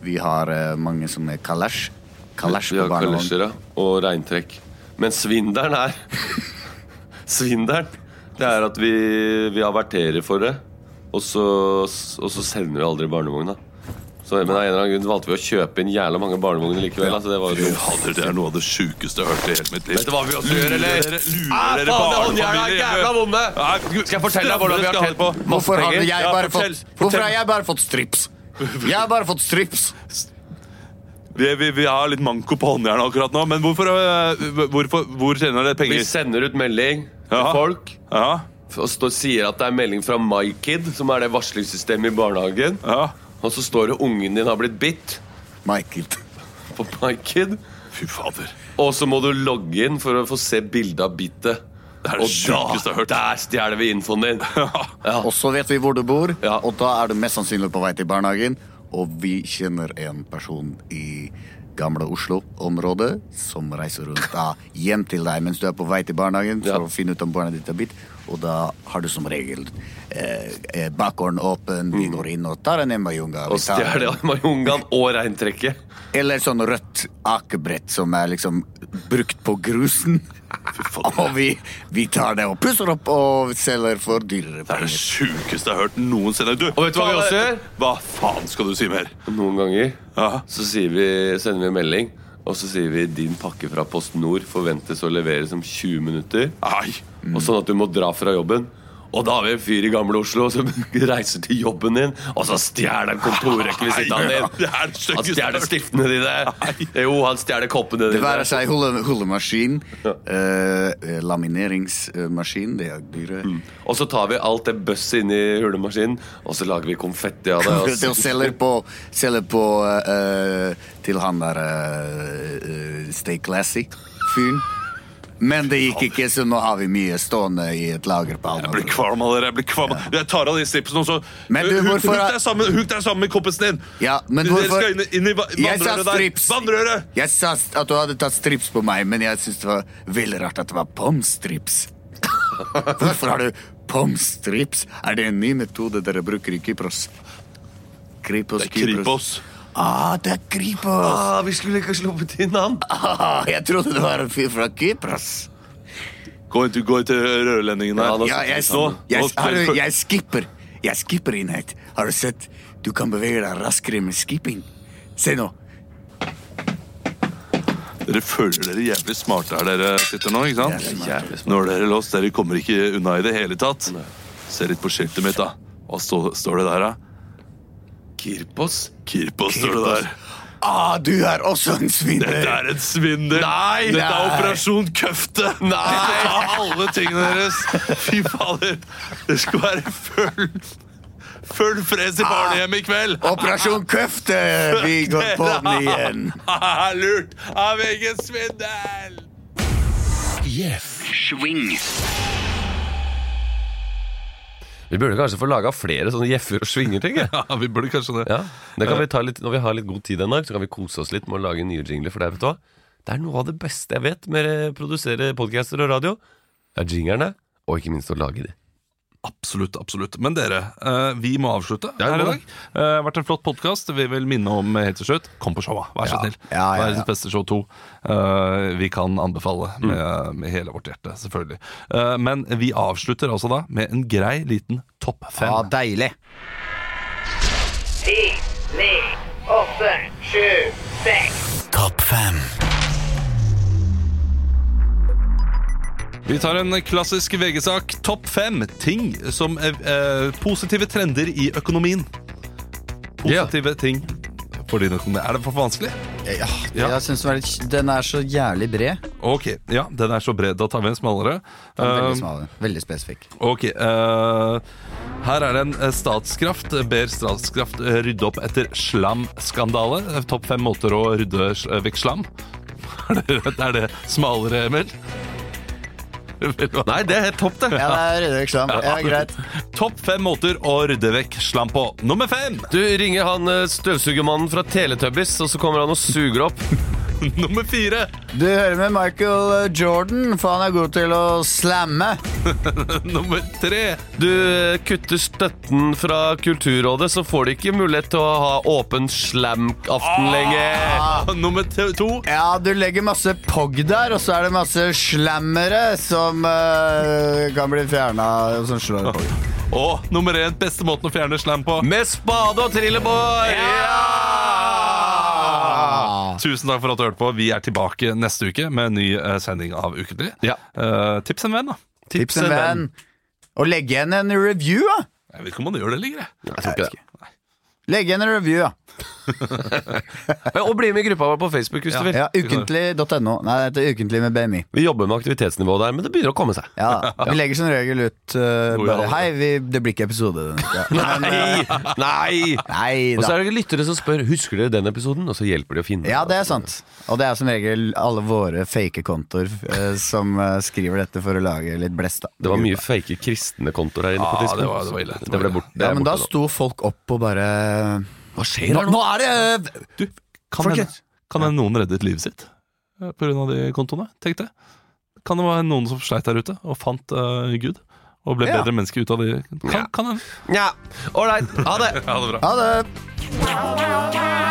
Vi har eh, mange som er kalasj. Kalasj
Vi
på
har
barnevogn.
kalesjer ja, og regntrekk. Men svindelen er Svindelen! Det er at vi, vi averterer for det, og så, og så sender vi aldri barnevogna. Så, men av en eller annen grunn valgte vi å kjøpe inn jævla mange barnevogner likevel. Altså, det var jo dumt.
Fader, det er noe av det sjukeste jeg har hørt i hele mitt liv.
Vet du hva vi også gjør, eller?
Lurer dere- lurer dere
Ah, faen, det
barnefamilier.
håndjerna er jævla vonde!
Ja, Gud,
Skal jeg fortelle deg hvordan vi har
straffere
tjent
skal ha det på?
Hvorfor har,
penger?
jeg
Ja,
bare
fortell,
fått, hvorfor har jeg bare fått strips? Jeg har bare fått strips!
Vi, vi, vi har litt manko på håndjernet akkurat nå, men hvorfor, øh, hvorfor, hvor tjener dere
Vi
penger?
sender ut melding til
Ja.
folk.
Ja,
Og står, sier at det er melding fra MyKid, som er det varslingssystemet i barnehagen.
ja.
Og så står det ungen din har blitt bitt
Michael.
på MyKid.
Fy fader.
Og så må du logge inn for å få se bilde av bittet.
er det
Og
sjukeste jeg har hørt.
der stjeler vi infoen din! Ja.
Og så vet vi hvor du bor,
Ja.
og da er du mest sannsynlig på vei til barnehagen. Og vi kjenner en person i gamle Oslo-området som reiser rundt da hjem til deg mens du er på vei til barnehagen for
Ja.
å finne ut om barnet ditt er bitt. Og da har du som regel eh, eh, bakgården åpen, vi går inn og tar en Emma-junga.
Mm. Og stjeler Marjungan og reintrekket.
Eller sånn rødt akebrett som er liksom brukt på grusen. Og vi, vi tar det og pusser opp og selger for dyrere
Det er det
penger.
sjukeste jeg har hørt noensinne. Du,
Og vet du hva vi også gjør?
Hva faen skal du si mer?
Noen ganger
Ja.
så sier vi, sender vi en melding, og så sier vi 'din pakke fra Post Nord forventes å leveres om 20 minutter'.
Nei.
Og sånn at du må dra fra jobben. Og da har vi en fyr i gamle Oslo som reiser til jobben din, og så stjeler han kontorrekvisittaen
Nei,
din!
det er det styggeste
Han stjeler
jeg har hørt.
stiftene dine! Jo, han stjeler koppene
Det
dine.
være seg hulle- hullemaskin, eh, lamineringsmaskin, det er dyre.
Mm.
Og så tar vi alt det bøsset inni hulemaskinen, og så lager vi konfetti av det.
Det å selge på, selger på eh, til han der eh, eh, Stay Classy-fyren. Men det gikk ikke, så nå har vi mye stående i et lager på
Jeg blir
Alnabru.
kvalm av dere. Jeg blir kvalm Jeg tar av de stripsene også.
Men du,
Huk-
hvorfor
huk
er-
deg sammen, huk deg sammen med kompisen din!
Ja, men
Dere
hvorfor-
skal inn, i- inn i va-
Jeg sa
vannrøret der.
strips.
Vannrøret!
Jeg sa st- at du hadde tatt strips på meg, men jeg syntes det var veldig rart at det var pomstrips. Hvorfor har du pomstrips? Er det en ny metode dere bruker i Kypros? Kripos,
Det er Kripos.
Ah, det er Kripos!
Ah, vi skulle ikke ha sluppet inn han!
Ah, jeg trodde det var en fyr fra Kypros.
Gå inn til, gå inn til rørlendingen
Ja,
der.
nå-
Ja, jeg,
Nå- nå
jeg,
skal
har
vi
du,
fø-
jeg skipper. Jeg skipper innhet. Har du sett? Du kan bevege deg raskere med skipping. Se nå.
Dere føler dere jævlig smarte her dere sitter nå, ikke sant? Jævlig smarte. Nå er dere låst, dere kommer ikke unna i det hele tatt. Se litt på skiltet mitt, da. Hva står, står det der, da?
Kirpos?
Kirpos står det der.
Ah, du er også en svindler!
Dette er en svindel! Nei! Dette er
Nei!
Operasjon Køfte! Nei! Ta alle tingene deres! Fy fader! Det skal være full Full fres i barnehjemmet i kveld!
Operasjon Køfte! Vi går på den igjen.
Lurt av egen svindel!
Vi burde kanskje få laga flere sånne jeffer og svingerting. jeg.
Ja, vi burde kanskje det.
Ja, det kan vi ta litt, Når vi har litt god tid en dag, så kan vi kose oss litt med å lage nye jingler. For det, er- vet du hva? det er noe av det beste jeg vet med å produsere podcaster og radio. Det er jinglene, og ikke minst å lage de.
Absolutt, absolutt. Men dere, eh, vi må avslutte
Ja, vi
her i
må
dag. Eh, Det har vært en flott podkast. Vi vil minne om eh, helt til slutt. Kom på showet, vær så snill.
Ja, ja, ja.
Verdens beste show 2. Eh, Vi kan anbefale med, med hele vårt hjerte, selvfølgelig. Eh, Men vi avslutter altså da med en grei liten topp fem.
Ja, deilig.
ti, ni, åtte, sju, seks.
Topp fem.
Vi tar en klassisk VG-sak. Topp fem ting som eh, eh, Positive trender i økonomien. Positive ting for din økonomi. Er det for vanskelig?
Ja,
Ja.
Jeg synes den er litt- den er så jævlig bred.
Ok, ja, den er så bred. Da tar vi en smalere.
Den er
Um,
Veldig
Eh,
smal. Veldig spesifikk.
Ok, eh, her er det en eh, Statskraft ber Statskraft eh, rydde opp etter slamskandale. Eh, Topp fem måter å rydde s- eh, vekk slam. Er det, er det smalere, Emil? Vel, hva?
Nei, det er helt topp, det!
Ja, det er ryddig reklame. Ja, greit.
Topp fem måter å rydde vekk slam på. Nummer fem!
Du ringer han eh, støvsugermannen fra Teletubbies, og så kommer han og suger opp.
Nummer fire!
Du hører med Michael eh, Jordan, for han er god til å slamme.
Nummer tre!
Du eh, kutter støtten fra Kulturrådet, så får du ikke mulighet til å ha åpen slam-aften lenger.
Ah, Nummer te- to!
Ja, du legger masse pog der, og så er det masse slammere som eh, kan bli fjerna, og som slår pog.
Og nummer én, beste måten å fjerne slam på.
Med spade og trillebår!
Tusen takk for at du hørte på. Vi er tilbake neste uke med en ny eh, sending av Ukentlig.
Ja.
Eh, tips en venn, da.
Tips en venn. Og legg igjen en review, da.
Jeg vet ikke om man gjør det lenger. jeg.
Jeg tror ikke det.
Legg igjen en review, da.
Men, Og bli med i gruppa vår på Facebook hvis du vil.
Ja, ukentlig.no. Nei, det heter Ukentlig med BMI.
Vi jobber med aktivitetsnivået der, men det begynner å komme seg.
Ja, da. Vi legger som regel ut eh,
Noe i alle.
bare Hei, vi, det blir ikke episode. denne uka». eh,
Nei! Nei!
Nei
Og så
da.
er det lyttere som spør Husker dere den episoden, og så hjelper de å finne
Ja, det er sant. Og det er som regel alle våre fake kontoer eh, som eh, skriver dette for å lage litt blest. da.
Det var mye fake kristne kontoer her inne. på
Ja,
Discord.
det var- det var ille.
Det ble bort, det
Ja,
er
men da
borte nå.
sto folk opp og bare
Hva skjer
Nå,
her nå?
nå er det eh,
Du, kan
Folkens.
hende kan hende noen reddet livet sitt eh, på grunn av de kontoene? Tenk det. Kan det være noen som sleit der ute og fant eh, Gud? Og ble
Ja.
bedre menneske ut av de Kan, kan hende.
Nja, ålreit. Ha det.
Ha det bra.
Ha det!
Wow, wow, wow.